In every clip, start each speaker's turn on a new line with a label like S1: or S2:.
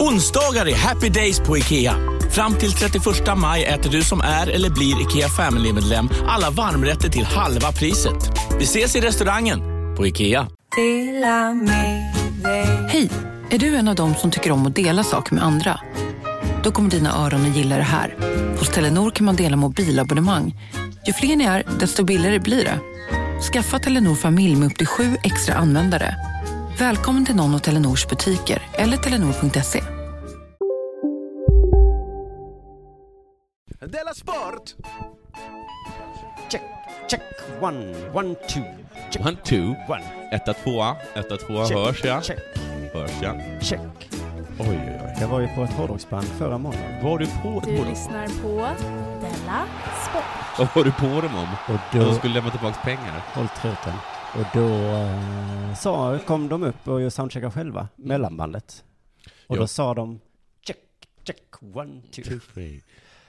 S1: Onsdagar är happy days på IKEA. Fram till 31 maj äter du som är eller blir IKEA Family-medlem alla varmrätter till halva priset. Vi ses i restaurangen på IKEA.
S2: Hej! Är du en av dem som tycker om att dela saker med andra? Då kommer dina öron att gilla det här. Hos Telenor kan man dela mobilabonnemang. Ju fler ni är, desto billigare blir det. Skaffa Telenor familj med upp till sju extra användare. Välkommen till någon av Telenors butiker eller telenor.se.
S3: Della Sport!
S4: Check, check, one, one, two. Check,
S3: One, two.
S4: one.
S3: Etta, tvåa. Etta, tvåa.
S4: Check,
S3: Hörs jag?
S4: Check,
S3: Hörs jag?
S4: check.
S3: Oj, oj, oj.
S4: Jag var ju på ett hårdrocksband förra måndagen.
S3: Var du på ett
S5: Du
S3: mål?
S5: lyssnar på Della Sport.
S3: Vad var du på dem om?
S4: Och
S3: Att de
S4: då,
S3: skulle lämna tillbaka pengar?
S4: håll truten. Och då eh, sa, kom de upp och jag soundcheckade själva, mellanbandet. Och
S3: Mm. Ja.
S4: då sa de check, check, one, two.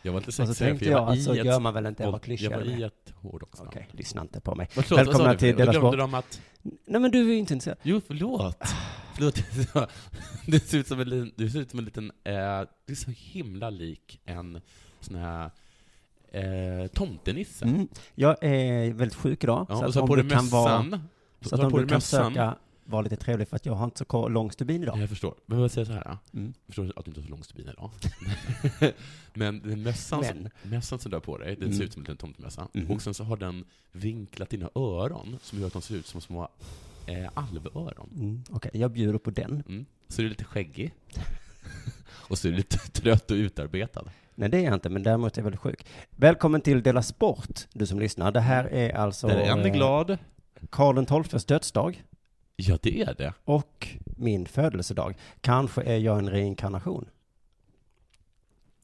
S3: Jag var inte
S4: Och så
S3: sexigare för
S4: Alltså, tänkte
S3: jag
S4: jag
S3: var
S4: att så
S3: i ett...
S4: gör man väl inte, jag var
S3: jag
S4: klyschig.
S3: var i
S4: eller?
S3: ett hårdrocksband.
S4: Okej, lyssna inte på mig.
S3: Förlåt, vad sa
S4: Välkomna
S3: du?
S4: till
S3: Då
S4: Della
S3: glömde
S4: Sport.
S3: de att...
S4: Nej men du är ju inte intresserad.
S3: Jo, förlåt. förlåt. du ser ut som en, lin- du ser ut som en liten... Eh, du är så himla lik en sån här... Eh, tomtenisse.
S4: Mm. Jag är väldigt sjuk idag.
S3: Ja, och
S4: att
S3: så
S4: om
S3: på dig
S4: du kan vara-
S3: mössan.
S4: Så att
S3: Ta
S4: om
S3: på
S4: du
S3: dig
S4: kan
S3: mössan.
S4: söka, var lite trevlig för att jag har inte så ko- lång stubin idag.
S3: Jag förstår. Men jag säger så här. då.
S4: Mm.
S3: Jag förstår att du inte har så lång stubin idag. Men den mössan, som- mössan som du har på dig, den ser
S4: Mm.
S3: ut som en liten tomtemössa.
S4: Mhm.
S3: Och sen så har den vinklat dina öron, som gör att de ser ut som små eh, alvöron.
S4: Mm, Okej, jag bjuder på den.
S3: Mm. Så du är lite skäggig. och så är du lite trött och utarbetad.
S4: Nej, det är jag inte, men däremot är jag väldigt sjuk. Välkommen till Dela Sport, du som lyssnar. Det här är alltså
S3: Där är en
S4: eh,
S3: glad.
S4: Karl XIIs dödsdag
S3: Ja, det är det.
S4: och min födelsedag. Kanske är jag en reinkarnation.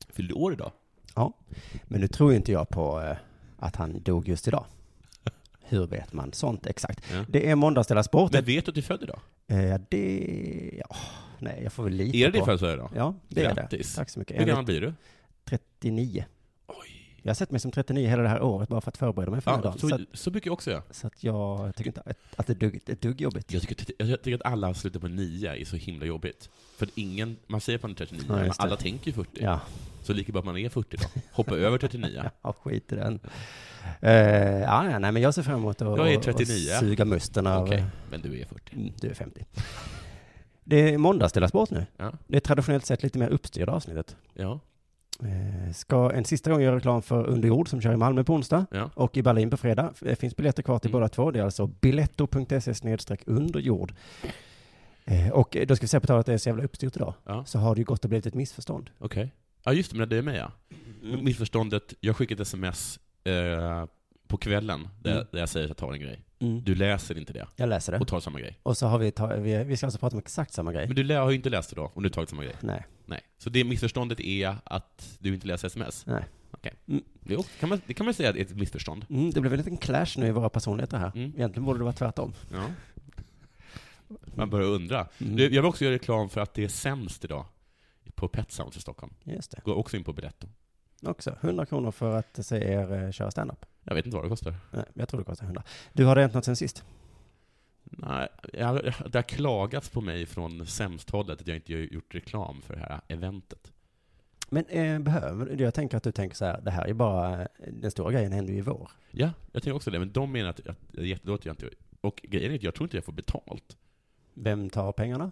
S3: Fyllde år idag.
S4: Men nu tror ju inte jag på eh, att han dog just idag. Hur vet man sånt exakt?
S3: Ja.
S4: Det är måndags Dela Sport.
S3: Men vet du att du är född idag?
S4: Eh, det... Ja, nej, jag får väl lita
S3: Är det din
S4: på...
S3: födelsedag idag?
S4: Ja, det är det.
S3: Grattis.
S4: Tack så mycket.
S3: Hur gammal blir
S4: Enligt
S3: du?
S4: 39.
S3: Oj.
S4: Jag har sett mig som 39 hela det här året bara för att förbereda mig för den här
S3: Ja,
S4: dagen. Så,
S3: så,
S4: att-
S3: så mycket också ja.
S4: så att jag tycker inte att, att det är dugg, det är dugg jobbigt.
S3: Jag tycker, att- jag tycker att alla slutar på 9 är så himla jobbigt. För att ingen, man säger att man är 39,
S4: Ja,
S3: men
S4: just det.
S3: alla tänker ju 40.
S4: Ja,
S3: Så lika bra att man är 40 då. Hoppa över 39.
S4: ja skit i den. Eh, ja, nej, nej, men jag ser fram emot att
S3: Jag är
S4: att-
S3: 39.
S4: att suga musten av...
S3: Okej, men du är 40.
S4: Mm, Du är 50. Det är måndagsdelat sport nu.
S3: Ja.
S4: Det är traditionellt sett lite mer uppstyrda avsnittet.
S3: Ja.
S4: Eh, Ska en sista gång göra reklam för Underjord som kör i Malmö på onsdag
S3: Ja.
S4: och i Berlin på fredag. Det finns biljetter kvar till
S3: Mm.
S4: båda två. Det är alltså biletto.se snedstreck underjord. Eh, Och eh, då ska vi säga på tal att det är så jävla uppstyrt idag.
S3: Ja.
S4: Så har det ju gått och blivit ett missförstånd.
S3: Okej. Ja, just det, men det är med ja.
S4: Mm.
S3: Missförståndet, jag skickade ett sms eh, på kvällen där,
S4: Mm.
S3: där jag säger att jag tar en grej.
S4: Mm.
S3: Du läser inte det
S4: Jag läser det.
S3: och tar samma grej.
S4: Och så har vi, ta, vi, vi ska alltså prata om exakt samma grej.
S3: Men du lä- har ju inte läst det då och du har tagit samma grej.
S4: Nej.
S3: Nej. Så det missförståndet är att du inte läser sms?
S4: Nej.
S3: Okej.
S4: Mm.
S3: Jo, kan man, det kan man säga att det är ett missförstånd.
S4: Mm, det blev en liten clash nu i våra personligheter här.
S3: Mm.
S4: Egentligen borde det vara tvärtom.
S3: Ja. Man börjar undra.
S4: Mm.
S3: Du, jag vill också göra reklam för att det är sämst idag på Pet Sounds i Stockholm.
S4: Just det.
S3: Gå också in på Biletto.
S4: Också 100 kronor för att se er eh, köra standup.
S3: Jag vet inte vad det kostar.
S4: Nej, jag tror det kostar 100. Du, har det hänt något sen sist?
S3: Nej, jag, det har klagats på mig från sämsthållet att jag inte har gjort reklam för det här eventet.
S4: Men eh, behöver du? Jag tänker att du tänker så här, det här är bara, eh, den stora grejen händer ju i vår.
S3: Ja, jag tänker också det, men de menar att, att det är jättedåligt att jag inte... Och grejen är att jag tror inte jag får betalt.
S4: Vem tar pengarna?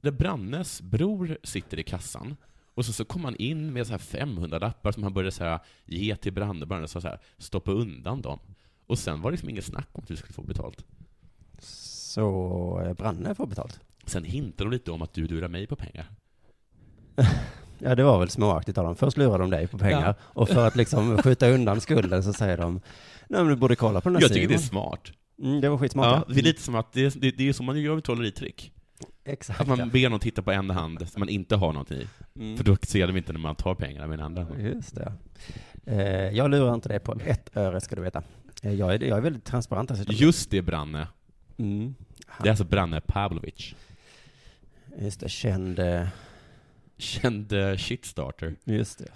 S3: Där Brannes bror sitter i kassan, och så, så kom han in med så här 500 lappar som han började så här ge till Branne, bara så här, stoppa undan dem. Och sen var det liksom inget snack om att vi skulle få betalt.
S4: Så eh, Branne får betalt.
S3: Sen hintar de lite om att du lurar mig på pengar.
S4: Ja, det var väl småaktigt av dem. Först lurar de dig på pengar
S3: Ja.
S4: och för att liksom skjuta undan skulden så säger de, nej men du borde kolla på den här
S3: Jag tycker det är
S4: Simon."
S3: smart.
S4: mm, det var skitsmart.
S3: Ja, det är lite som att det, det, det är som man gör med trolleritrick.
S4: Exakt. Mm.
S3: Att man ber någon titta på en hand som man inte har någonting i. För då ser de inte när man tar pengarna med den andra handen.
S4: Just det. Eh, jag lurar inte dig på ett öre ska du veta. Eh, jag, är, jag är väldigt transparent dessutom.
S3: Just det, Branne.
S4: Mm.
S3: Det är alltså Branne Pavlovic.
S4: Just det, känd... eh,
S3: Känd eh, shitstarter.
S4: Just det.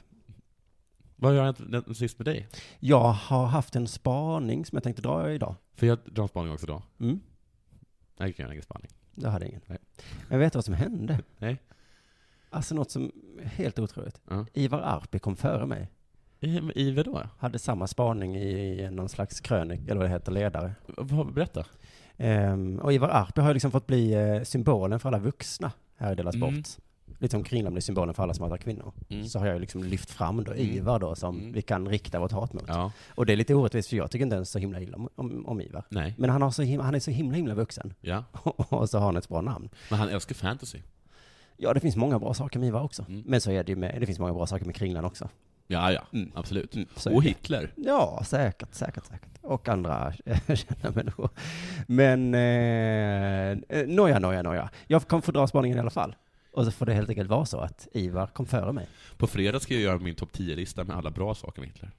S3: Vad gör jag den sist med dig?
S4: Jag har haft en spaning som jag tänkte dra idag.
S3: För jag drar en spaning också då.
S4: Mm.
S3: Nej, jag kan göra ingen spaning.
S4: Det hade jag ingen.
S3: Nej.
S4: Men vet du vad som hände?
S3: Nej.
S4: Alltså något som är helt otroligt.
S3: Ja.
S4: Ivar Arpi kom före mig.
S3: I, i vad då?
S4: Hade samma spaning i, i någon slags krönik, eller vad det heter, ledare.
S3: Vad- Berätta.
S4: Ehm, och Ivar Arpi har ju liksom fått bli eh, symbolen för alla vuxna här i Dela Sport.
S3: Mm.
S4: Lite som Kringlan blir symbolen för alla smarta kvinnor.
S3: Mm.
S4: Så har jag ju liksom lyft fram då
S3: Mm.
S4: Ivar då som
S3: Mm.
S4: vi kan rikta vårt hat mot.
S3: Ja.
S4: Och det är lite orättvist för jag tycker inte ens så himla illa om, om, om Ivar.
S3: Nej.
S4: Men han, har så him- han är så himla himla vuxen.
S3: Ja.
S4: och så har han ett bra namn.
S3: Men han älskar fantasy.
S4: Ja, det finns många bra saker med Ivar också.
S3: Mm.
S4: Men så är det ju med, det finns många bra saker med Kringlan också.
S3: Ja, ja.
S4: Mm.
S3: Absolut.
S4: så är
S3: Och
S4: det.
S3: Hitler.
S4: Ja, säkert, säkert, säkert. Och andra kända människor. Men, eh, eh, nåja, nåja, nåja. Jag kommer få dra spaningen i alla fall. Och så får det helt enkelt vara så att Ivar kom före mig.
S3: På fredag ska jag göra min topp 10-lista med alla bra saker med Hitler.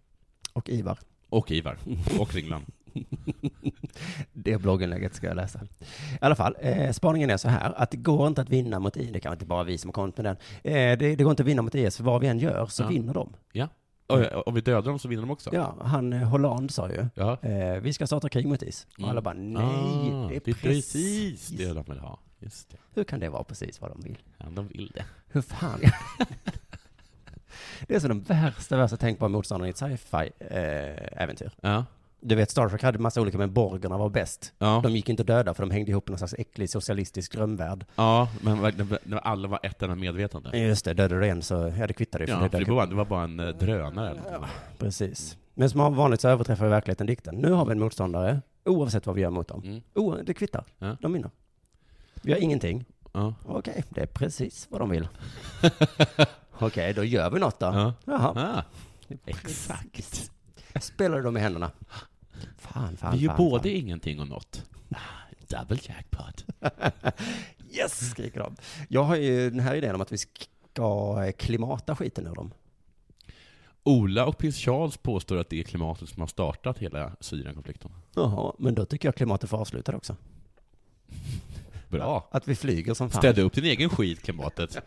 S4: Och Ivar.
S3: Och Ivar. Och Ringland.
S4: Det blogginlägget ska jag läsa. I alla fall, eh, spaningen är så här att det går inte att vinna mot IS. Det kan inte bara vi som har kommit med den. Eh, det, det går inte att vinna mot IS, för vad vi än gör så
S3: Ja.
S4: vinner de.
S3: Ja. Och, om vi dödar dem så vinner de också.
S4: Ja, han eh, Hollande sa ju.
S3: Ja.
S4: Eh, vi ska starta krig mot IS. Och
S3: Mm.
S4: alla bara nej,
S3: Ah,
S4: det är
S3: precis det de vill ha. Just det.
S4: Hur kan det vara precis vad de vill?
S3: Ja, de vill det.
S4: Hur fan? det är så de värsta, värsta tänkbara motståndarna i ett sci-fi-äventyr.
S3: Ja.
S4: du vet, Star Trek hade massa olika, men borgerna var bäst.
S3: Ja.
S4: De gick inte att döda för de hängde ihop i någon slags äcklig socialistisk drömvärld.
S3: Ja, men verkligen, när alla var ett enda medvetande.
S4: Just det, dödade du en så, ja det kvittade ju. För
S3: Ja,
S4: det
S3: för det
S4: dök
S3: var, det var bara en eh, drönare. eller någonting.
S4: upp. Precis. Men som vanligt så överträffar verkligheten dikten. Nu har vi en motståndare, oavsett vad vi gör mot dem.
S3: Mm.
S4: O, det kvittar.
S3: Ja.
S4: De vinner. Vi gör ingenting.
S3: Ja.
S4: Okej, det är precis vad de vill. Okej, då gör vi något då.
S3: Ja. Ah,
S4: Jaha. Exakt. Spelar de i händerna? Fan, fan,
S3: vi är ju
S4: fan,
S3: både
S4: fan.
S3: ingenting och något. Ah, Double jackpot.
S4: Yes, skriker de. Jag har ju den här idén om att vi ska klimata skiten ur dem.
S3: Ola och prins Charles påstår att det är klimatet som har startat hela Syrienkonflikten.
S4: Jaha, men då tycker jag klimatet får avsluta också.
S3: Bra.
S4: Att vi flyger som fan.
S3: Städa upp din egen skit, klimatet.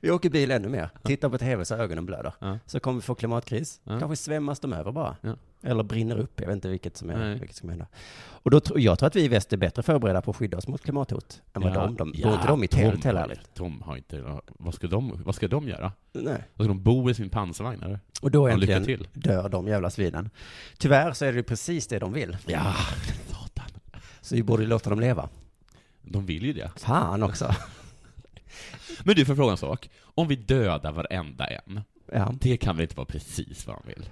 S4: Vi åker bil ännu mer, tittar på tv så ögonen blöder.
S3: Ja.
S4: Så kommer vi få klimatkris.
S3: Ja.
S4: Kanske svämmas de över bara.
S3: Ja.
S4: Eller brinner upp, jag vet inte vilket som, är,
S3: Nej.
S4: vilket som händer. Och då, tror- jag tror att vi i väst är bättre förberedda på att skydda oss mot klimathot än vad de, de bor inte de i tält
S3: Tom
S4: helt
S3: har-
S4: ärligt.
S3: Tom har inte... Vad ska de, vad ska de göra?
S4: Nej.
S3: Ska de bo i sin pansarvagn, eller?
S4: Och då
S3: Ja, lycka
S4: äntligen
S3: till.
S4: dör de jävla svinen. Tyvärr så är det ju precis det de vill.
S3: Ja, satan.
S4: Så vi borde ju låta dem leva.
S3: De vill ju det.
S4: Fan också.
S3: Men du, får fråga en sak? Om vi dödar varenda en,
S4: Ja.
S3: det kan väl inte vara precis vad han vill?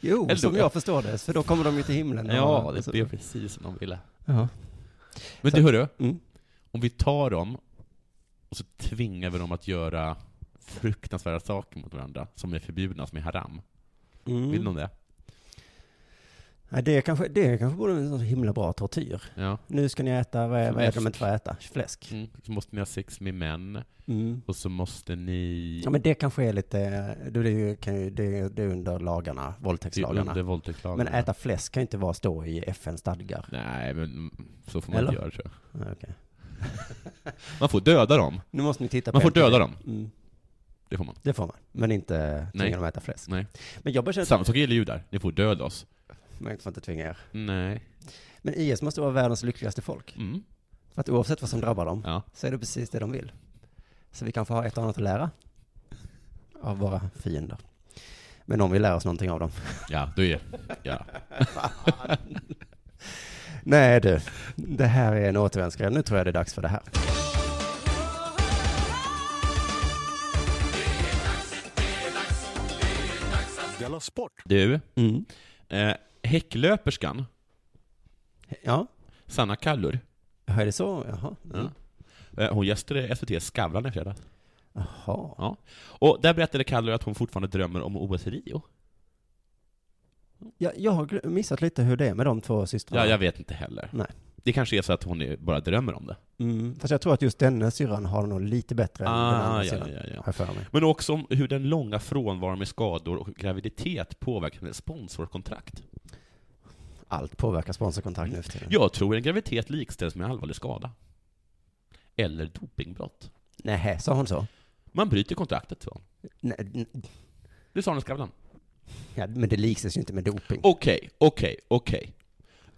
S4: Jo,
S3: Eller
S4: som
S3: då-
S4: jag förstår det. För då kommer de ju till himlen. och-
S3: Ja,
S4: och så-
S3: det blev precis som de ville.
S4: Ja.
S3: Men
S4: Så-
S3: du, hörru.
S4: Mm.
S3: Om vi tar dem och så tvingar vi dem att göra fruktansvärda saker mot varandra som är förbjudna, som är haram.
S4: Mm.
S3: Vill de det?
S4: Nej, det, är kanske, det är kanske borde vara en sån himla bra tortyr.
S3: Ja.
S4: Nu ska ni äta, vad är, vad är det
S3: Fläsk.
S4: de inte får äta? Fläsk.
S3: Mm. Så måste ni ha sex med män,
S4: Mm.
S3: och så måste ni...
S4: Ja, men det kanske är lite, det, är ju, kan ju, det, det är under lagarna,
S3: Det är
S4: våldtäktslagarna.
S3: under våldtäktslagarna.
S4: Men äta fläsk kan ju inte vara stå i FNs stadgar.
S3: Nej, men mm, så får man
S4: Eller?
S3: inte göra, tror jag.
S4: Ja, okej.
S3: Man får döda dem.
S4: Nu måste ni titta på
S3: Man får
S4: MTV.
S3: döda dem.
S4: Mm,
S3: Det får man.
S4: det får man. Men inte tvinga
S3: Nej.
S4: dem att äta fläsk.
S3: Nej.
S4: Men jag bara känner
S3: Samma sak gäller judar. Ni får döda oss.
S4: Man får inte tvinga er.
S3: Nej.
S4: Men IS måste vara världens lyckligaste folk.
S3: Mm.
S4: För att oavsett vad som drabbar dem
S3: Ja.
S4: så är det precis det de vill. Så vi kanske har ett och annat att lära av våra fiender. Men om vi lär oss någonting av dem.
S3: Ja, då är ja.
S4: Nej du, det här är en återvändsgränd. Nu tror jag det är dags för det här.
S6: Della Sport.
S3: Du, eh, häcklöperskan
S4: Ja,
S3: Sanna Kallur,
S4: är det så? Jaha. Mm.
S3: eh, hon gästade SVT Skavlan i fredags.
S4: Jaha.
S3: Ja. Och där berättade Kallur att hon fortfarande drömmer om OS i Rio.
S4: Jag, jag har glö- missat lite hur det är med de två systrarna.
S3: Ja, jag vet inte heller.
S4: Nej.
S3: Det kanske är så att hon är, bara drömmer om det.
S4: Mm. Fast jag tror att just denna syrran har det nog lite bättre än den
S3: Ah,
S4: andra
S3: ja,
S4: syrran.
S3: ja, ja.
S4: Har jag för mig.
S3: Men också om hur den långa frånvaron med skador och graviditet påverkar hennes sponsorkontrakt.
S4: Allt påverkar sponsorkontrakt nu för tiden.
S3: Jag tror en graviditet likställs med allvarlig skada. Eller dopingbrott.
S4: Nej, sa hon så?
S3: Man bryter kontraktet, så.
S4: Nej, n-
S3: Det sa hon i Skavlan.
S4: ja, men det likställs ju inte med doping.
S3: Okej, okej, okej.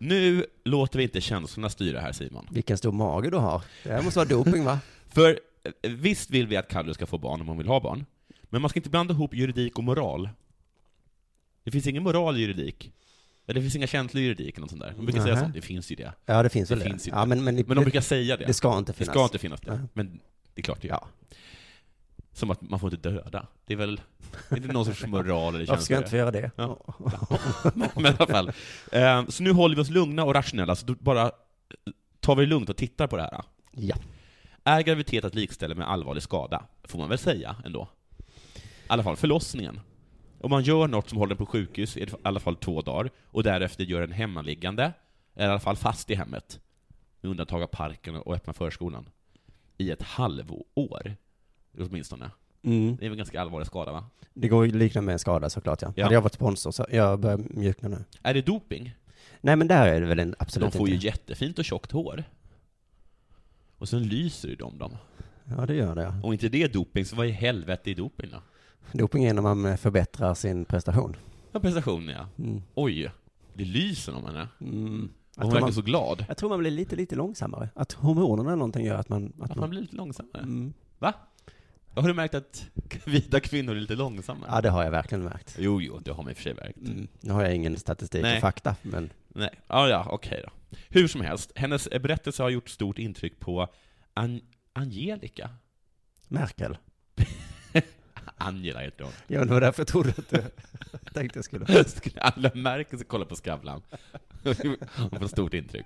S3: Nu låter vi inte känslorna styra här, Simon.
S4: Vilken stor mage du har. Det här måste vara doping va?
S3: För eh, visst vill vi att Kalle ska få barn om hon vill ha barn. Men man ska inte blanda ihop juridik och moral. Det finns ingen moral i juridik. Eller det finns inga känslor i juridik eller något sånt där. De brukar säga
S4: Nähä.
S3: sånt, det finns ju det.
S4: Ja, det finns
S3: Det
S4: väl det.
S3: finns ju
S4: ja, men, men,
S3: Men de brukar säga det.
S4: det ska inte
S3: Det
S4: finnas.
S3: ska inte finnas det.
S4: Nej.
S3: Men det är klart det gör. Som att man får inte döda. Det är väl, det är inte någon sorts moral eller
S4: Varför
S3: känsla.
S4: ska jag inte få göra det?
S3: Ja. Men i alla fall. Eh, Så nu håller vi oss lugna och rationella, så då bara eh, tar vi det lugnt och tittar på det här.
S4: Ja.
S3: Är graviditet att likställa med allvarlig skada? Får man väl säga ändå. I alla fall förlossningen. Om man gör något som håller på sjukhus i alla fall två dagar, och därefter gör en hemmaliggande, eller i alla fall fast i hemmet, med undantag av parken och öppna förskolan, i ett halvår, åtminstone.
S4: Mm.
S3: Det är väl en ganska allvarlig skada, va?
S4: Det går ju liknande med en skada såklart ja.
S3: Ja.
S4: Hade jag varit sponsor så, jag börjar mjukna nu.
S3: Är det doping?
S4: Nej men där är det väl en,
S3: De
S4: absolut
S3: får ju
S4: inte.
S3: jättefint och tjockt hår. Och sen lyser ju de dem.
S4: Ja det gör det ja.
S3: Om inte det är doping, så vad i helvete är doping då?
S4: Doping är när man eh, förbättrar sin prestation.
S3: Ja, prestationen ja.
S4: Mm.
S3: Oj, det lyser om henne. Och
S4: Jag,
S3: hon
S4: tror
S3: verkar
S4: man,
S3: så glad.
S4: jag tror man blir lite, lite långsammare. Att hormonerna eller någonting gör att man... Att
S3: Att
S4: man
S3: man blir lite långsammare.
S4: mm.
S3: Va? Har du märkt att gravida kvinnor är lite långsammare?
S4: Ja det har jag verkligen märkt.
S3: Jo, jo, det har man i och för sig märkt.
S4: Mm. Nu har jag ingen statistik
S3: Nej.
S4: och fakta, men
S3: Nej, ah, ja, okej då. Hur som helst, hennes berättelse har gjort stort intryck på An- Angelica.
S4: Merkel.
S3: Angela heter hon.
S4: Ja, men det var därför jag trodde att du tänkte jag skulle...
S3: Skulle alla märka sig kolla på Skavlan? Hon får stort intryck.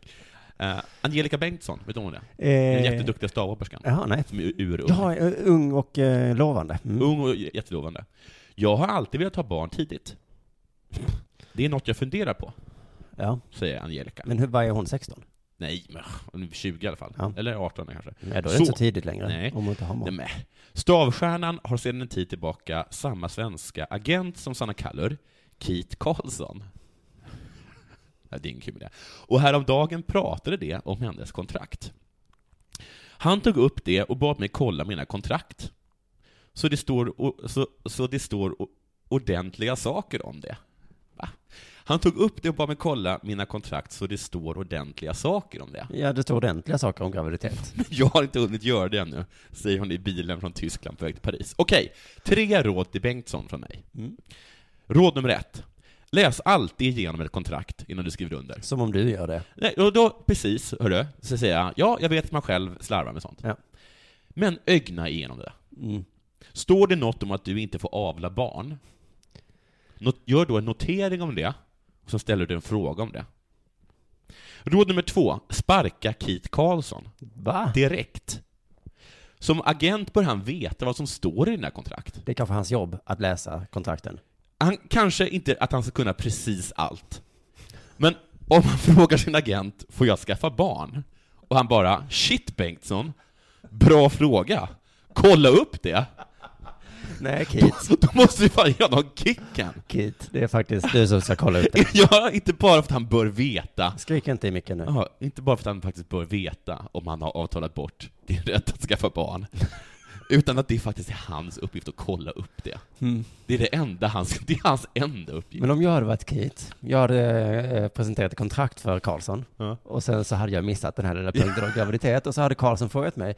S3: Eh, Angelica Bengtsson, vet du om hon är? Den jätteduktiga stavhopperskan.
S4: Eh, Jaha, nej.
S3: Som är urung.
S4: Ja, eh, ung och eh, lovande. Mm.
S3: Ung och j- jättelovande. Jag har alltid velat ha barn tidigt. Det är något jag funderar på,
S4: Ja.
S3: säger Angelica.
S4: Men hur, vad är hon, 16?
S3: Nej, men hon är 20 i alla fall.
S4: Ja.
S3: Eller 18 kanske.
S4: Nej, då är det inte så tidigt längre.
S3: Nej.
S4: Om hon inte har
S3: Nej,
S4: mål.
S3: men. Stavstjärnan har sedan en tid tillbaka samma svenska agent som Sanna Kallur, Keith Karlsson. Ja, det är ingen kul med det. Och häromdagen pratade det om hennes kontrakt. Han tog upp det och bad mig kolla mina kontrakt. Så det står, o- så, så det står o- ordentliga saker om det. Va? Han tog upp det och bad mig kolla mina kontrakt så det står ordentliga saker om det.
S4: Ja, det står ordentliga saker om graviditet.
S3: Jag har inte hunnit göra det ännu, säger hon i bilen från Tyskland på väg till Paris. Okej, tre råd till Bengtsson från mig.
S4: Mm.
S3: Råd nummer ett. Läs alltid igenom ett kontrakt innan du skriver under.
S4: Som om du gör det.
S3: Nej, och då, precis, hörru, så säger jag, ja, jag vet att man själv slarvar med sånt.
S4: Ja.
S3: Men ögna igenom det.
S4: Mm.
S3: Står det något om att du inte får avla barn, not- gör då en notering om det, och så ställer du en fråga om det. Råd nummer två, sparka Keith Karlsson
S4: Va? Det,
S3: direkt. Som agent bör han veta vad som står i den här kontrakt.
S4: det är kanske hans jobb, att läsa kontrakten.
S3: Han kanske inte att han ska kunna precis allt. Men om han frågar sin agent, får jag skaffa barn? Och han bara, shit Bengtsson, bra fråga. Kolla upp det.
S4: Nej, Kit.
S3: Då måste vi fan göra någon kicken.
S4: Kit, det är faktiskt du som ska kolla upp det.
S3: Ja, inte bara för att han bör veta.
S4: Skrik inte i micken nu.
S3: Ja, inte bara för att han faktiskt bör veta om han har avtalat bort din rätt att skaffa barn, utan att det faktiskt är hans uppgift att kolla upp det. Det är det enda hans, det är hans enda uppgift.
S4: Men om jag hade varit Kit, jag hade eh, presenterat ett kontrakt för Karlsson
S3: Ja.
S4: och sen så hade jag missat den här lilla punkten om graviditet och så hade Karlsson frågat mig,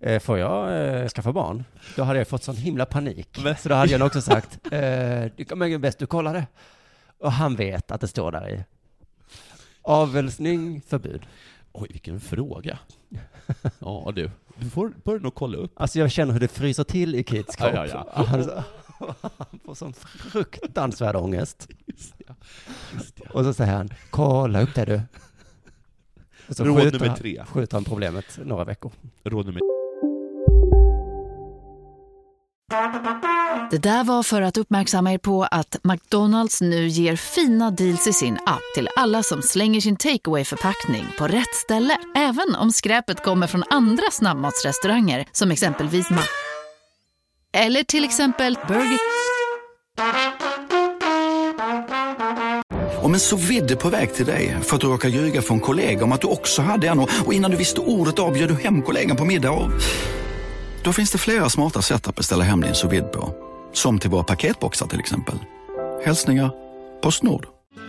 S4: eh, får jag eh, skaffa barn? Då hade jag fått sån himla panik. Så då hade jag nog också sagt, eh, det kommer bäst du kollar det. Och han vet att det står där i. Avelsning, förbud.
S3: Oj, vilken fråga. Ja du, du får bör nog kolla upp.
S4: Alltså jag känner hur det fryser till i Kits kropp.
S3: Ja, ja,
S4: Han, han får sån fruktansvärd ångest.
S3: Just det, just det.
S4: Och så säger han, kolla upp det du. Och så
S3: Råd
S4: skjuter
S3: nummer
S4: han-
S3: tre.
S4: skjuter han problemet några veckor.
S3: Råd nummer
S7: Det där var för att uppmärksamma er på att McDonalds nu ger fina deals i sin app till alla som slänger sin takeaway förpackning på rätt ställe. Även om skräpet kommer från andra snabbmatsrestauranger som exempelvis Ma... Eller till exempel Burger...
S8: Om en så vidde på väg till dig för att du råkar ljuga från kollega om att du också hade en och och innan du visste ordet av bjöd du hem kollegan på middag och... Då finns det flera smarta sätt att beställa hem din sous vide på. Som till våra paketboxar till exempel. Hälsningar Postnord.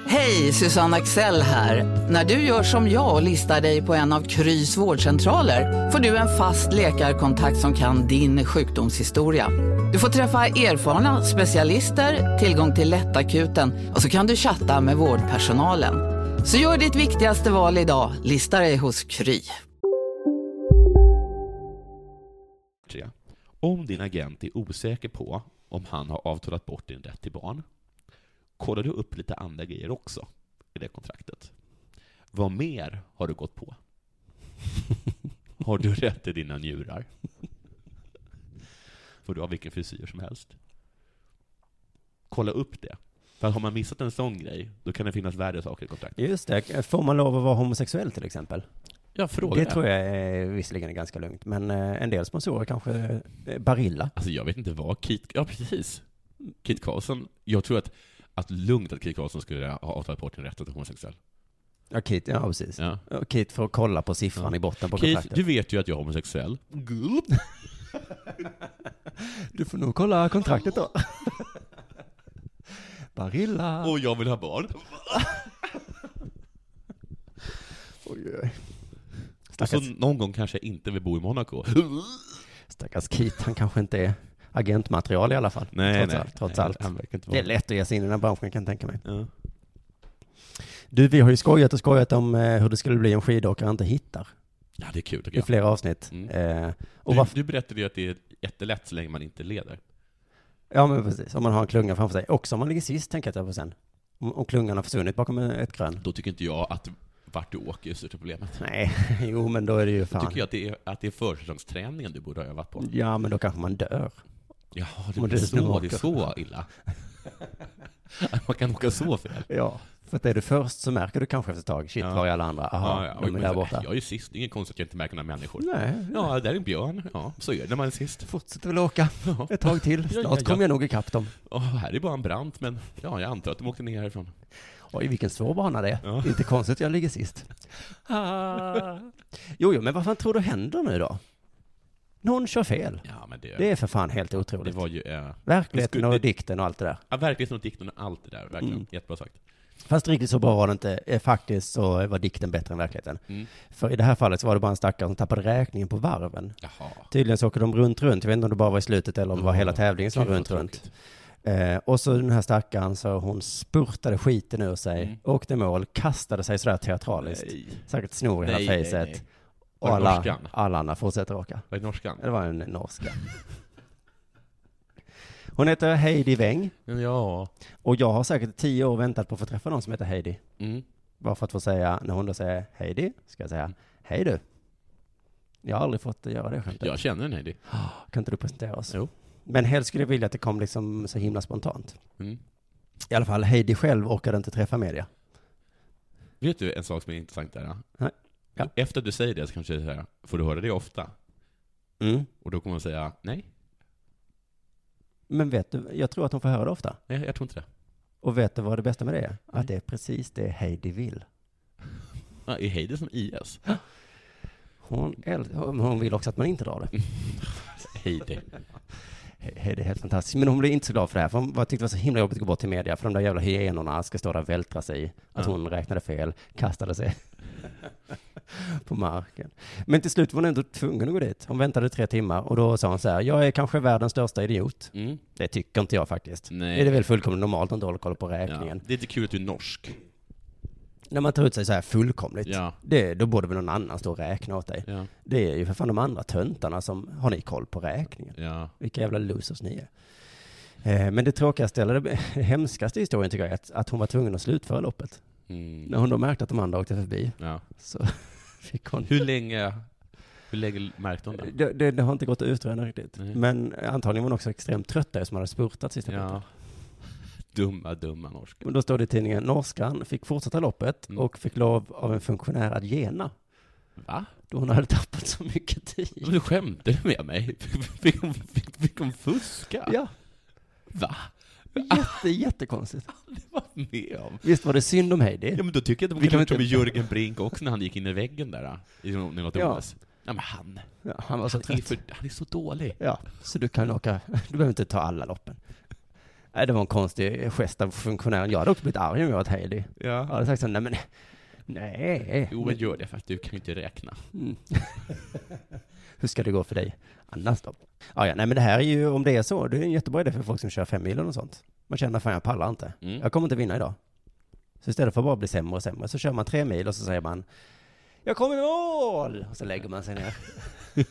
S9: Hej, Susanne Axel här. När du gör som jag och listar dig på en av Krys vårdcentraler får du en fast läkarkontakt som kan din sjukdomshistoria. Du får träffa erfarna specialister, tillgång till lättakuten och så kan du chatta med vårdpersonalen. Så gör ditt viktigaste val idag, listar dig hos Kry.
S3: Tre. Om din agent är osäker på om han har avtalat bort din rätt till barn, kollar du upp lite andra grejer också i det kontraktet. Vad mer har du gått på? Har du rätt till dina njurar? Får du ha vilken frisyr som helst? Kolla upp det. För att har man missat en sån grej, då kan det finnas värre saker i kontraktet.
S4: Just det. Får man lov att vara homosexuell till exempel?
S3: Jag frågar.
S4: Det tror jag är, visserligen är ganska lugnt. Men eh, en del sponsorer kanske eh, Barilla.
S3: Alltså jag vet inte vad Kit... Ja, precis. Kit Carlson. Jag tror att, att lugnt att Kit Carlson skulle ha avtalat bort sin rätt att vara homosexuell.
S4: Ja, Kit, ja precis.
S3: Ja.
S4: Och Kit får kolla på siffran
S3: Ja.
S4: i botten på
S3: Kit,
S4: kontraktet.
S3: du vet ju att jag är homosexuell.
S4: Du får nog kolla kontraktet då. Barilla.
S3: Och jag vill ha barn.
S4: Oj, oj.
S3: Och så
S4: Stackars,
S3: någon gång kanske jag inte vill bo i Monaco.
S4: stackars Kit, han kanske inte är agentmaterial i alla fall. trots allt. Trots
S3: nej,
S4: allt.
S3: Han verkar inte
S4: Det
S3: vara...
S4: är lätt att ge sig in i den här branschen kan jag tänka mig.
S3: Ja.
S4: Du, vi har ju skojat och skojat om eh, hur det skulle bli om skidåkare inte hittar
S3: ja, det är kul tycker
S4: i
S3: jag.
S4: flera avsnitt.
S3: Mm.
S4: Eh, och
S3: Du,
S4: varför,
S3: du berättade ju att det är jättelätt så länge man inte leder.
S4: ja men precis, om man har en klunga framför sig. Också om man ligger sist tänker jag på sen. Om, om klungan har försvunnit bakom en- ett krön.
S3: Då tycker inte jag att vart du åker är största problemet.
S4: Nej, jo men då är det ju
S3: Då
S4: fan.
S3: tycker jag att det är, att det är försäsongsträningen du borde ha övat på.
S4: Ja men då kanske man dör.
S3: Jaha,
S4: Och
S3: det,
S4: det
S3: det,
S4: är nu
S3: så,
S4: åker.
S3: det är så illa. Att man kan åka så fel.
S4: Ja. För att är du först så märker du kanske efter ett tag, shit
S3: Ja.
S4: var är alla andra? Aha,
S3: ja,
S4: de är
S3: men
S4: där
S3: så-
S4: borta.
S3: Jag är ju sist, det är inget konstigt att jag inte märker några människor.
S4: Nej,
S3: Ja, där är en björn. Ja, så gör det när man är sist.
S4: fortsätter väl åka
S3: Ja.
S4: ett tag till.
S3: Ja, ja,
S4: Snart
S3: ja.
S4: kommer jag nog ikapp dem.
S3: Åh, här är bara en brant, men ja, jag antar att de åkte ner härifrån.
S4: Oj, vilken svår bana det är.
S3: Ja.
S4: Inte konstigt att jag ligger sist. Jo, jo, men vad fan tror du händer nu då? Någon kör fel.
S3: Ja, men det,
S4: Det
S3: det,
S4: är för fan helt otroligt.
S3: var ju... Eh,
S4: Verkligheten
S3: Det
S4: och
S3: skulle-
S4: dikten och allt det där.
S3: ja, verkligheten och dikten och allt det där, verkligen.
S4: Mm.
S3: Jättebra sagt.
S4: Fast riktigt så bra var det inte. Eh, Faktiskt så var dikten bättre än verkligheten.
S3: Mm.
S4: För i det här fallet så var det bara en stackare som tappade räkningen på varven.
S3: Jaha.
S4: Tydligen så åker de runt, runt. Jag vet inte om det bara var i slutet eller om det var hela tävlingen som var
S3: Gud,
S4: runt,
S3: vad
S4: runt.
S3: tråkigt.
S4: Eh, och så den här stackaren, så hon spurtade skiten ur sig,
S3: Mm.
S4: åkte i mål, kastade sig sådär teatraliskt.
S3: Nej.
S4: Säkert snor i
S3: Nej,
S4: hela
S3: nej,
S4: fejset.
S3: nej. Var
S4: Och
S3: det
S4: alla,
S3: norskan?
S4: alla andra fortsätter åka.
S3: Vad är norskan?
S4: Det var en norska. Hon heter Heidi Weng.
S3: Mm, Ja.
S4: Och jag har säkert tio år väntat på att få träffa någon som heter Heidi.
S3: Mm.
S4: Bara för att få säga, när hon då säger Heidi, ska jag säga Hej du. Jag har aldrig fått göra det skämtet.
S3: Jag känner en Heidi.
S4: Kan inte du presentera oss?
S3: Jo.
S4: Men helst skulle jag vilja att det kom liksom så himla spontant.
S3: Mm.
S4: I alla fall, Heidi själv orkade inte träffa media.
S3: Vet du en sak som är intressant där? ja?
S4: Nej. Ja.
S3: Efter att du säger det så kanske jag säger, får du höra det ofta?
S4: Mm.
S3: Och då kommer hon säga, nej,
S4: Men vet du, jag tror att hon får höra det ofta.
S3: nej jag tror inte det.
S4: Och vet du vad det bästa med det är? Att det är precis det Heidi vill.
S3: Ja, är Heidi som IS?
S4: Hon, äl- hon vill också att man inte drar det.
S3: Heidi.
S4: He- Heidi är helt fantastisk. Men hon blev inte så glad för det här, för hon var- tyckte det var så himla jobbigt att gå bort till media, för de där jävla hyenorna ska stå där och vältra sig i. Att
S3: Ja.
S4: hon räknade fel, kastade sig på marken. Men till slut var hon ändå tvungen att gå dit. Hon väntade tre timmar och då sa hon så här, jag är kanske världens största idiot.
S3: Mm.
S4: Det tycker inte jag faktiskt.
S3: Nej.
S4: Det är det väl fullkomligt normalt om du håller koll på
S3: Ja.
S4: räkningen.
S3: Det är inte kul att du är norsk.
S4: När man tar ut sig så här fullkomligt,
S3: Ja.
S4: det, då borde väl någon annan stå och räkna åt dig.
S3: Ja.
S4: Det är ju för fan de andra töntarna som, har ni koll på räkningen?
S3: Ja.
S4: Vilka jävla losers ni är. Eh, Men det tråkigaste, eller det hemskaste i historien tycker jag, är att, att hon var tvungen att slutföra loppet.
S3: Mm.
S4: När hon då märkte att de andra åkte förbi
S3: Ja.
S4: så fick hon...
S3: Hur länge Hur lägger märkte hon den?
S4: Det, det, det har inte gått att utröna riktigt.
S3: Nej.
S4: Men antagligen var hon också extremt trött där som hade spurtat sista
S3: Ja. Dumma, dumma norska.
S4: Men då står det i tidningen, norskan fick fortsätta loppet
S3: Mm.
S4: och fick lov av en funktionär att gena.
S3: Va?
S4: Då hon hade tappat så mycket tid.
S3: Men du skämtar du med mig? Fick hon, fick, fick hon fuska?
S4: Ja.
S3: Va?
S4: Jätte, jättekonstigt.
S3: Med om?
S4: Visst var det synd om Heidi?
S3: Ja men då tycker jag att
S4: Vi
S3: de
S4: kan
S3: kan ha gjort
S4: inte-
S3: med Jörgen Brink också när han gick in i väggen där, äh, i något något
S4: Ja. Alltså,
S3: OS. Ja men han,
S4: Ja, han var så
S3: han, är
S4: trött.
S3: för, han är så dålig.
S4: Ja, så du kan åka, du behöver inte ta alla loppen. Nej, det var en konstig gest av funktionären. Jag hade också blivit arg om jag varit Heidi. Jag
S3: Ja.
S4: hade sagt så, nej men, nej.
S3: Jo men gör det för att du kan ju inte räkna.
S4: Mm. Hur ska det gå för dig annars då? Ah, ja, nej men det här är ju, om det är så, det är en jättebra idé för folk som kör fem mil och sånt. Man känner fan jag pallar inte.
S3: Mm.
S4: Jag kommer inte vinna idag. Så istället för att bara bli sämre och sämre så kör man tre mil och så säger man Jag kommer i mål! Och så lägger man sig ner.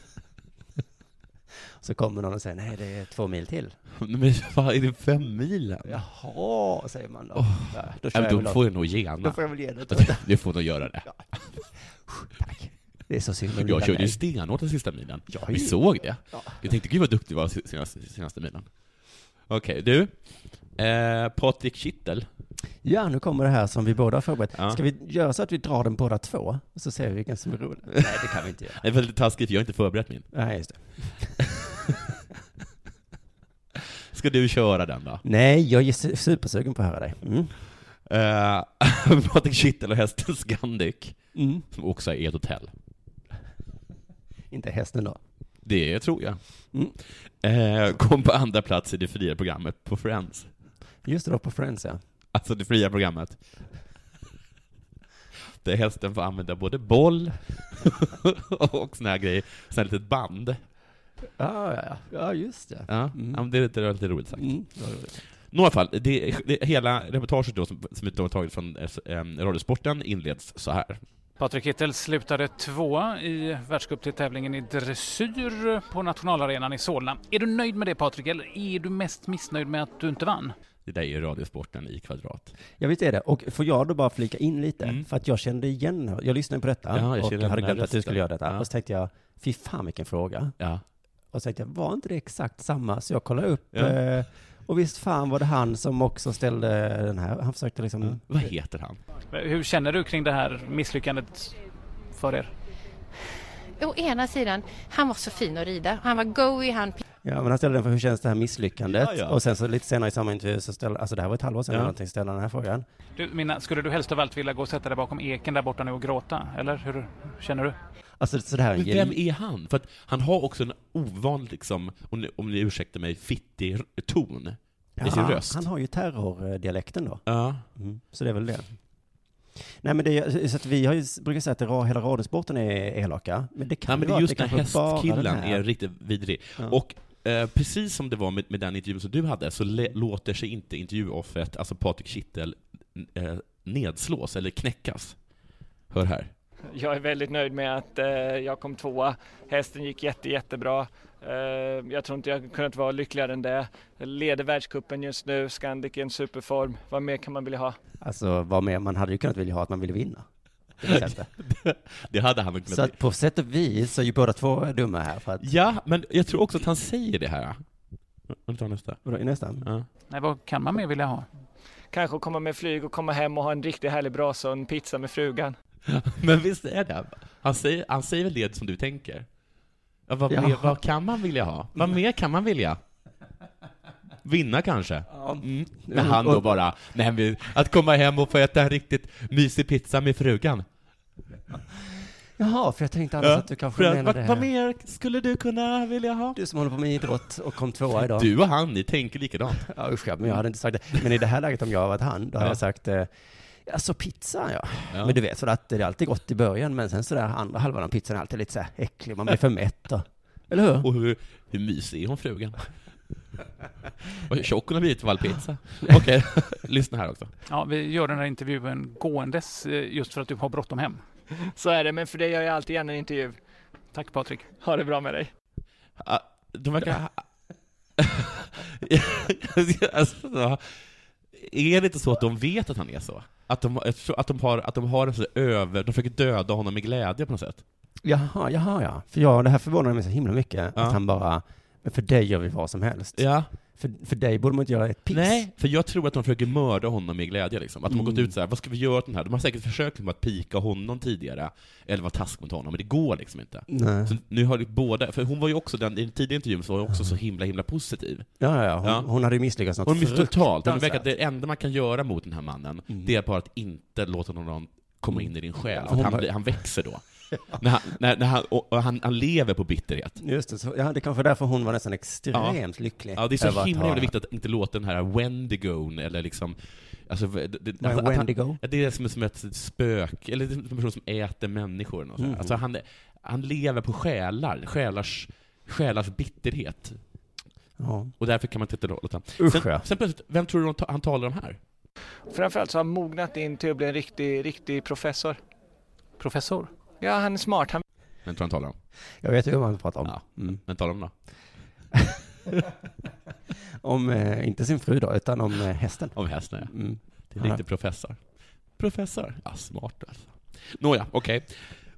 S4: så kommer någon och säger nej det är två mil till.
S3: Men vad är det fem milen?
S4: Jaha, säger man då. ja, då kör
S3: Ja,
S4: jag
S3: men
S4: väl
S3: då
S4: åt-
S3: får jag nog gena.
S4: då får jag väl ge det.
S3: Du får nog göra det.
S4: Tack. Det är så synd om lilla
S3: Jag körde ju
S4: mig.
S3: stenhårt den sista milen.
S4: Ja,
S3: Vi
S4: ju.
S3: såg det.
S4: Ja.
S3: Jag tänkte, gud vad duktig du var senaste, senaste milen. Okej, du. Eh, Patrik Kittel.
S4: Ja, nu kommer det här som vi båda har förberett.
S3: Ja.
S4: Ska vi göra så att vi drar den båda två? Och så ser vi vilken som är rolig. Nej, det kan vi inte göra.
S3: Det är väldigt taskigt, jag har inte förberett min.
S4: Nej, just det.
S3: Ska du köra den då?
S4: Nej, jag är su- supersugen på att höra dig. Mm.
S3: Eh, Patrik Kittel och hästen Scandic,
S4: Mm.
S3: som också är ett hotell.
S4: Inte hästen då.
S3: Det tror jag.
S4: Mm.
S3: Eh, kom på andra plats i det fria programmet på Friends.
S4: Just det, då på Friends ja.
S3: Alltså det fria programmet. Där hästen får använda både boll och såna här grejer, sån här litet band.
S4: Ja, ja, ja. ja just det.
S3: Ah, Ja,
S4: Mm.
S3: ja, men det är lite, det är lite roligt sagt.
S4: Mm. det var roligt.
S3: Några fall, det, det, hela reportaget då som, som har tagit från eh, s- eh, Radiosporten inleds så här.
S10: Patrik Kittel slutade tvåa i världscuptävlingen i dressyr på nationalarenan i Solna. Är du nöjd med det Patrik, eller är du mest missnöjd med att du inte vann?
S3: Det där är ju Radiosporten i kvadrat.
S4: Ja, visst är det. Och får jag då bara flika in lite?
S3: Mm.
S4: För att jag kände igen, jag lyssnade på detta
S3: Ja, jag känner
S4: och jag
S3: den
S4: hade
S3: här
S4: glömt att du
S3: rösten.
S4: skulle göra detta.
S3: Ja.
S4: Och så tänkte jag, fy fan vilken fråga.
S3: Ja.
S4: Och så tänkte jag, var inte det exakt samma? Så jag kollade upp.
S3: Ja.
S4: Eh, och visst fan var det han som också ställde den här. Han försökte liksom...
S3: Vad heter han?
S10: Hur känner du kring det här misslyckandet för er?
S11: Å ena sidan, han var så fin att rida. Han var goig, han
S4: Ja, men han ställde den för hur känns det här misslyckandet?
S3: Ja, ja.
S4: Och sen så lite senare i samma intervju så ställde, alltså det här var ett halvår sedan
S3: Ja.
S4: eller någonting, ställde han den här frågan.
S10: Du, Minna, skulle du helst av allt vilja gå och sätta dig bakom eken där borta nu och gråta? Eller hur känner du?
S4: Alltså så det här är en
S3: Men vem
S4: geni-
S3: är han? För att han har också en ovanlig, liksom, om ni, om ni ursäktar mig, fittig r- ton i sin
S4: Ja,
S3: röst.
S4: Han har ju terrordialekten då.
S3: Ja.
S4: Mm. Så det är väl det. Nej men det, är- så att vi har ju, brukar säga att det, ra- hela radiosporten är elaka. Men det kan
S3: Ja, men
S4: ju
S3: det är
S4: vara att
S3: just den
S4: kanske bara
S3: hästkillen
S4: den här-
S3: är riktigt vidrig.
S4: Ja.
S3: Och eh, precis som det var med, med den intervjun som du hade, så le- låter sig inte intervjuoffret, alltså Patrik Kittel, n- eh, nedslås eller knäckas. Hör här.
S12: Jag är väldigt nöjd med att eh, jag kom tvåa. Hästen gick jätte, jättebra. Eh, jag tror inte jag kunnat vara lyckligare än det. Jag leder världscupen just nu, Scandic är en superform. Vad mer kan man vilja ha?
S4: Alltså vad mer, man hade ju kunnat vilja ha att man ville vinna. Det vill säga inte.
S3: Det hade han väl
S4: så
S3: kunnat...
S4: att på sätt och vis så är ju båda två dumma här för att...
S3: Ja, men jag tror också att han säger det här. Vi tar nästa.
S4: Vadå, nästan?
S3: Ja.
S10: Nej, vad kan man mer vilja ha?
S12: Kanske att komma med flyg och komma hem och ha en riktigt härlig brasa och en pizza med frugan.
S3: Men visst är det? Han säger, han säger väl det som du tänker? Ja, vad,
S4: Ja.
S3: Mer, vad kan man vilja ha? Vad mer kan man vilja? Vinna kanske? Mm. Men han då bara, nej, men att komma hem och få äta en riktigt mysig pizza med frugan.
S4: Jaha, för jag tänkte annars
S3: Ja,
S4: att du kanske
S3: för att-
S4: menade...
S3: vad, vad mer skulle du kunna vilja ha?
S4: Du som håller på med idrott och kom tvåa idag.
S3: Du och han, ni tänker likadant.
S4: Ja, usch ja, men jag hade inte sagt det. Men i det här läget om jag var han, då hade
S3: Ja.
S4: jag sagt eh, Alltså pizza ja.
S3: Ja.
S4: Men du vet så att det är alltid gott i början men sen så där andra halvan av pizzan är alltid lite så här äcklig, man blir för mätt och, Eller hur?
S3: Och hur, hur mysig är hon frugan? Och hur tjock hon har blivit av all pizza. Okej, lyssna här också.
S10: Ja, vi gör den här intervjun gåendes eh, just för att du har bråttom hem.
S12: Så är det, men för dig gör jag alltid gärna en intervju.
S10: Tack Patrik.
S12: Ha det bra med dig.
S3: Ah, De verkar... alltså, är det inte så att de vet att han är så? Att de, att de, har, att de har en sån över... De försöker döda honom med glädje på något sätt?
S4: Jaha, jaha, ja. För jag, det här förvånade mig så himla mycket. Att han bara, men för dig gör vi vad som helst.
S3: Ja.
S4: För, för dig borde man inte göra ett piss.
S3: Nej, för jag tror att de försöker mörda honom i glädje. Liksom. Att de har gått ut så här, vad ska vi göra åt den här? De har säkert försökt liksom, att pika honom tidigare, eller vara task mot honom, men det går liksom inte.
S4: Nej.
S3: Så nu har de båda, för hon var ju också, den, i den tidiga intervjun så var hon också så himla, himla positiv.
S4: Ja, ja, ja. Hon, hon hade ju misslyckats något
S3: Hon misslyckades totalt. Det verkar
S4: fruktansvärt. Mm.
S3: att det enda man kan göra mot den här mannen, det är bara att inte låta någon komma in i din själ, för
S4: Hon
S3: att han,
S4: var-
S3: blir- han växer då. när han, när, när han, och, och han, han lever på bitterhet.
S4: Just det, så, ja, det kanske är därför hon var nästan extremt lycklig.
S3: Ja, det är
S4: över
S3: så
S4: att
S3: himla,
S4: ha-
S3: himla viktigt att inte låta den här Wendigon, eller liksom... Alltså, det, det,
S4: Vad är
S3: att han-
S4: Wendigo?
S3: att det är som, som ett spök, eller det är en person som äter människor. Och så här.
S4: Mhm.
S3: Alltså, han, han lever på själar, själars, själars bitterhet.
S4: Ja.
S3: Och därför kan man inte låta
S4: Usch,
S3: sen,
S4: ja.
S3: sen plötsligt, vem tror du han ta- han talar om här?
S12: Framförallt så har han mognat in till att bli en riktig, riktig professor.
S10: Professor?
S12: Ja, han är smart. Han...
S3: Vem tror han talar om?
S4: Jag vet ju vad man pratar om.
S3: Mm. Vem talar om då?
S4: Om, eh, inte sin fru då, utan om eh, hästen.
S3: Om hästen, ja.
S4: Mm.
S3: Det är lite professor. Professor? Ja, smart alltså. Nåja, okej.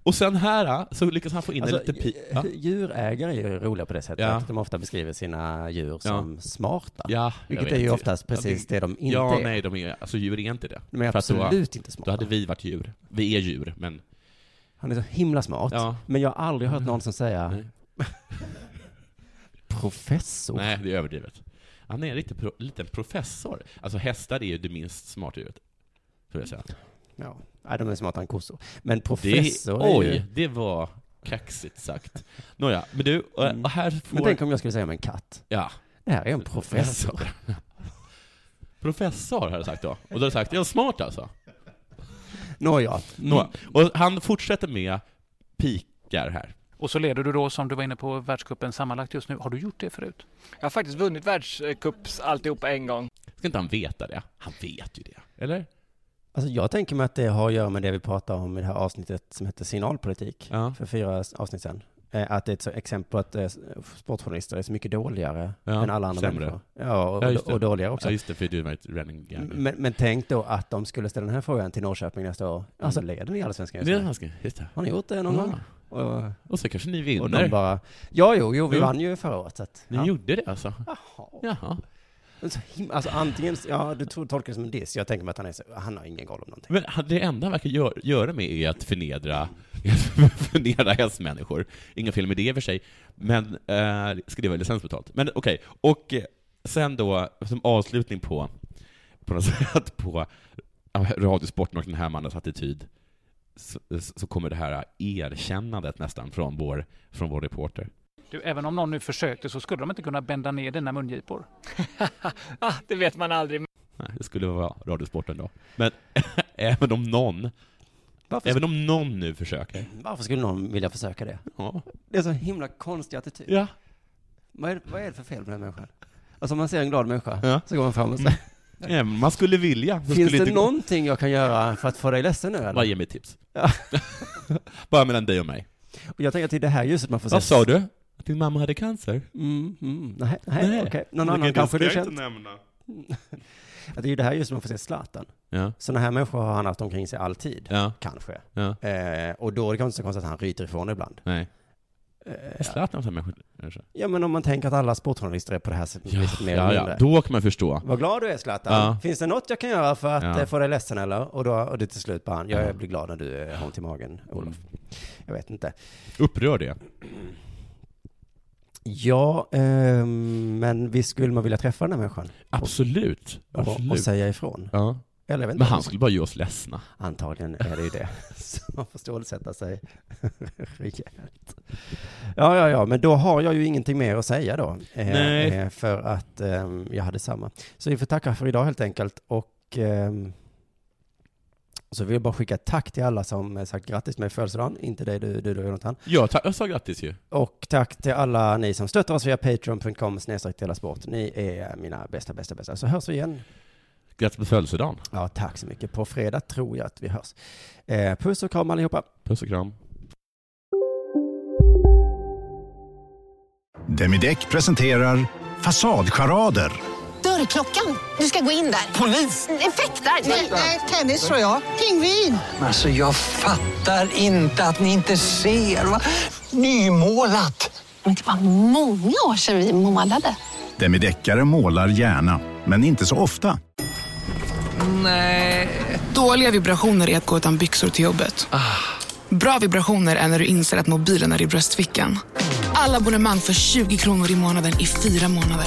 S3: Och sen här så lyckas han få in en
S4: Alltså,
S3: lite... Pi-
S4: eh,
S3: ja.
S4: Djurägare är ju roliga på det sättet.
S3: Ja.
S4: att De ofta beskriver sina djur
S3: Ja.
S4: som smarta.
S3: Ja, jag
S4: vilket
S3: vet
S4: är ju
S3: ju.
S4: oftast precis det de inte
S3: ja,
S4: är.
S3: nej, de är, alltså djur är inte det.
S4: De är
S3: För att då-
S4: absolut inte
S3: Då
S4: smarta.
S3: hade vi varit djur. Vi är djur, men...
S4: Han är så himla smart.
S3: Ja.
S4: Men jag har aldrig hört någon som säger professor.
S3: Nej, det är överdrivet. Han är en riktig pro, liten professor. Alltså hästar är ju det minst smarta djuret. Får jag säga.
S4: Ja. Nej, de är smartare än kossor. Men
S3: Det är,
S4: professor är ju...
S3: oj, det var kaxigt sagt. Nåja, men du, och, och här får...
S4: Mm. Men tänk om jag skulle säga om en katt.
S3: Ja.
S4: Det här är en professor.
S3: Professor, hade jag sagt då. Och då hade jag sagt, är han smart alltså?
S4: Nåja.
S3: Nåja. Och han fortsätter med pikar här.
S10: Och så leder du då, som du var inne på, världscupen sammanlagt just nu. Har du gjort det förut?
S12: Jag har faktiskt vunnit världscups alltihop en gång.
S3: Ska inte han veta det? Han vet ju det. Eller?
S4: Alltså jag tänker mig att det har att göra med det vi pratade om i det här avsnittet som heter signalpolitik för fyra avsnitt sedan. Eh, Att det är ett så- exempel på att eh, sportjournalister är så mycket dåligare
S3: Ja,
S4: än alla andra
S3: sämre.
S4: människor. Ja, och,
S3: just det.
S4: och dåligare också.
S3: Ja, just det, för du var ett running gag.
S4: men, men tänk då att de skulle ställa den här frågan till Norrköping nästa år. Alltså leder ni Allsvenskan just
S3: Det är
S4: nu?
S3: allsvenskan, just det.
S4: Har ni gjort det någon
S3: Ja.
S4: gång?
S3: Och så kanske ni
S4: Och
S3: vinner.
S4: de bara, ja jo, jo vi
S3: Jo.
S4: vann ju förra året. Så att,
S3: Ni
S4: ja.
S3: gjorde det alltså? Jaha.
S4: Men så him- alltså antingen, ja du tror- tolkar det som en diss, jag tänker mig att han är så, han har ingen koll om någonting.
S3: Men han- det enda han verkar gör, göra med är att förnedra, förnedra hästmänniskor. Inga fel med det i och för sig, men eh, ska det vara licensbetalt? Men okej, och eh, sen då som avslutning på, på något sätt på eh, Radiosporten och den här mannens attityd, så, så kommer det här erkännandet nästan från vår, från vår reporter.
S10: Du, även om någon nu försökte så skulle de inte kunna bända ner dina mungipor.
S12: Ah, det vet man aldrig.
S3: Nej, det skulle vara Radiosporten då. Men även om någon, även om någon nu försöker.
S4: Varför skulle någon vilja försöka det?
S3: Ja.
S4: Det är så himla konstig attityd.
S3: Ja.
S4: Vad är, vad är det för fel med den människan? Alltså om man ser en glad människa,
S3: Ja.
S4: så går man fram och säger
S3: Nej, men man skulle vilja.
S4: Finns
S3: skulle
S4: det
S3: inte gå.
S4: någonting jag kan göra för att få dig ledsen nu eller?
S3: Bara ge mig tips.
S4: Ja.
S3: Bara mellan dig och mig.
S4: Och jag tänker att i det här ljuset man får
S3: Vad
S4: se-
S3: sa du? Att din mamma hade cancer?
S4: Mm, mm, nej, nej, okej. Någon
S3: Det
S4: annan
S3: kan
S4: kanske
S3: ska
S4: du
S3: jag
S4: känt?
S3: inte nämna.
S4: Att det är ju det här ljuset man får se Zlatan.
S3: Ja.
S4: Sådana här människor har han haft omkring sig alltid,
S3: Ja.
S4: kanske.
S3: Ja.
S4: Eh, och då är det kanske inte så konstigt att han ryter ifrån ibland.
S3: Nej.
S4: Eh,
S3: Är Zlatan sån människa? kanske?
S4: ja, men om man tänker att alla sportjournalister är på det här sättet viset mer
S3: Ja,
S4: eller
S3: ja,
S4: mindre.
S3: då kan man förstå.
S4: Vad glad du är Zlatan.
S3: Ja.
S4: Finns det något jag kan göra för att
S3: Ja.
S4: eh, få dig ledsen eller? Och då, och det till slut bara han,
S3: Ja. Mm.
S4: jag blir glad när du eh, har ont i magen, Olof. Jag vet inte.
S3: Upprör det.
S4: Ja, eh, men visst skulle man vilja träffa den här människan?
S3: Absolut.
S4: Och, och, och
S3: Absolut.
S4: säga ifrån?
S3: Ja.
S4: Eller jag vet inte.
S3: Men han skulle bara göra oss ledsna.
S4: Antagligen är det ju det. Så man får stålsätta sig rejält. Ja, ja, ja, men då har jag ju ingenting mer att säga då. Eh,
S3: Nej.
S4: eh, För att ehm, jag hade samma. Så vi får tacka för idag helt enkelt. Och ehm, så vill jag bara skicka ett tack till alla som eh, sagt grattis med födelsedagen. Inte dig du, du, du Jonathan.
S3: Ja, ta- jag sa grattis ju.
S4: Och tack till alla ni som stöttar oss via patreon.com snedstreck Della sport. Ni är mina bästa, bästa, bästa. Så hörs vi igen.
S3: Grattis på födelsedagen.
S4: Ja, tack så mycket. På fredag tror jag att vi hörs. Eh, puss och kram allihopa.
S3: Puss och kram.
S13: Demideck presenterar Fasadcharader.
S14: Dörrklockan. Du ska gå in där. Polis? Effektar? Nej, tennis tror jag. Pingvin.
S15: Alltså jag fattar inte att ni inte ser. Va? Nymålat!
S16: Men det var många år sedan vi målade.
S12: Demideckare målar gärna, men inte så ofta.
S9: Nej. Dåliga vibrationer är att gå utan byxor till jobbet. Bra vibrationer är när du inser att mobilen är i bröstfickan. Alla abonnemang för 20 kronor i månaden i fyra månader.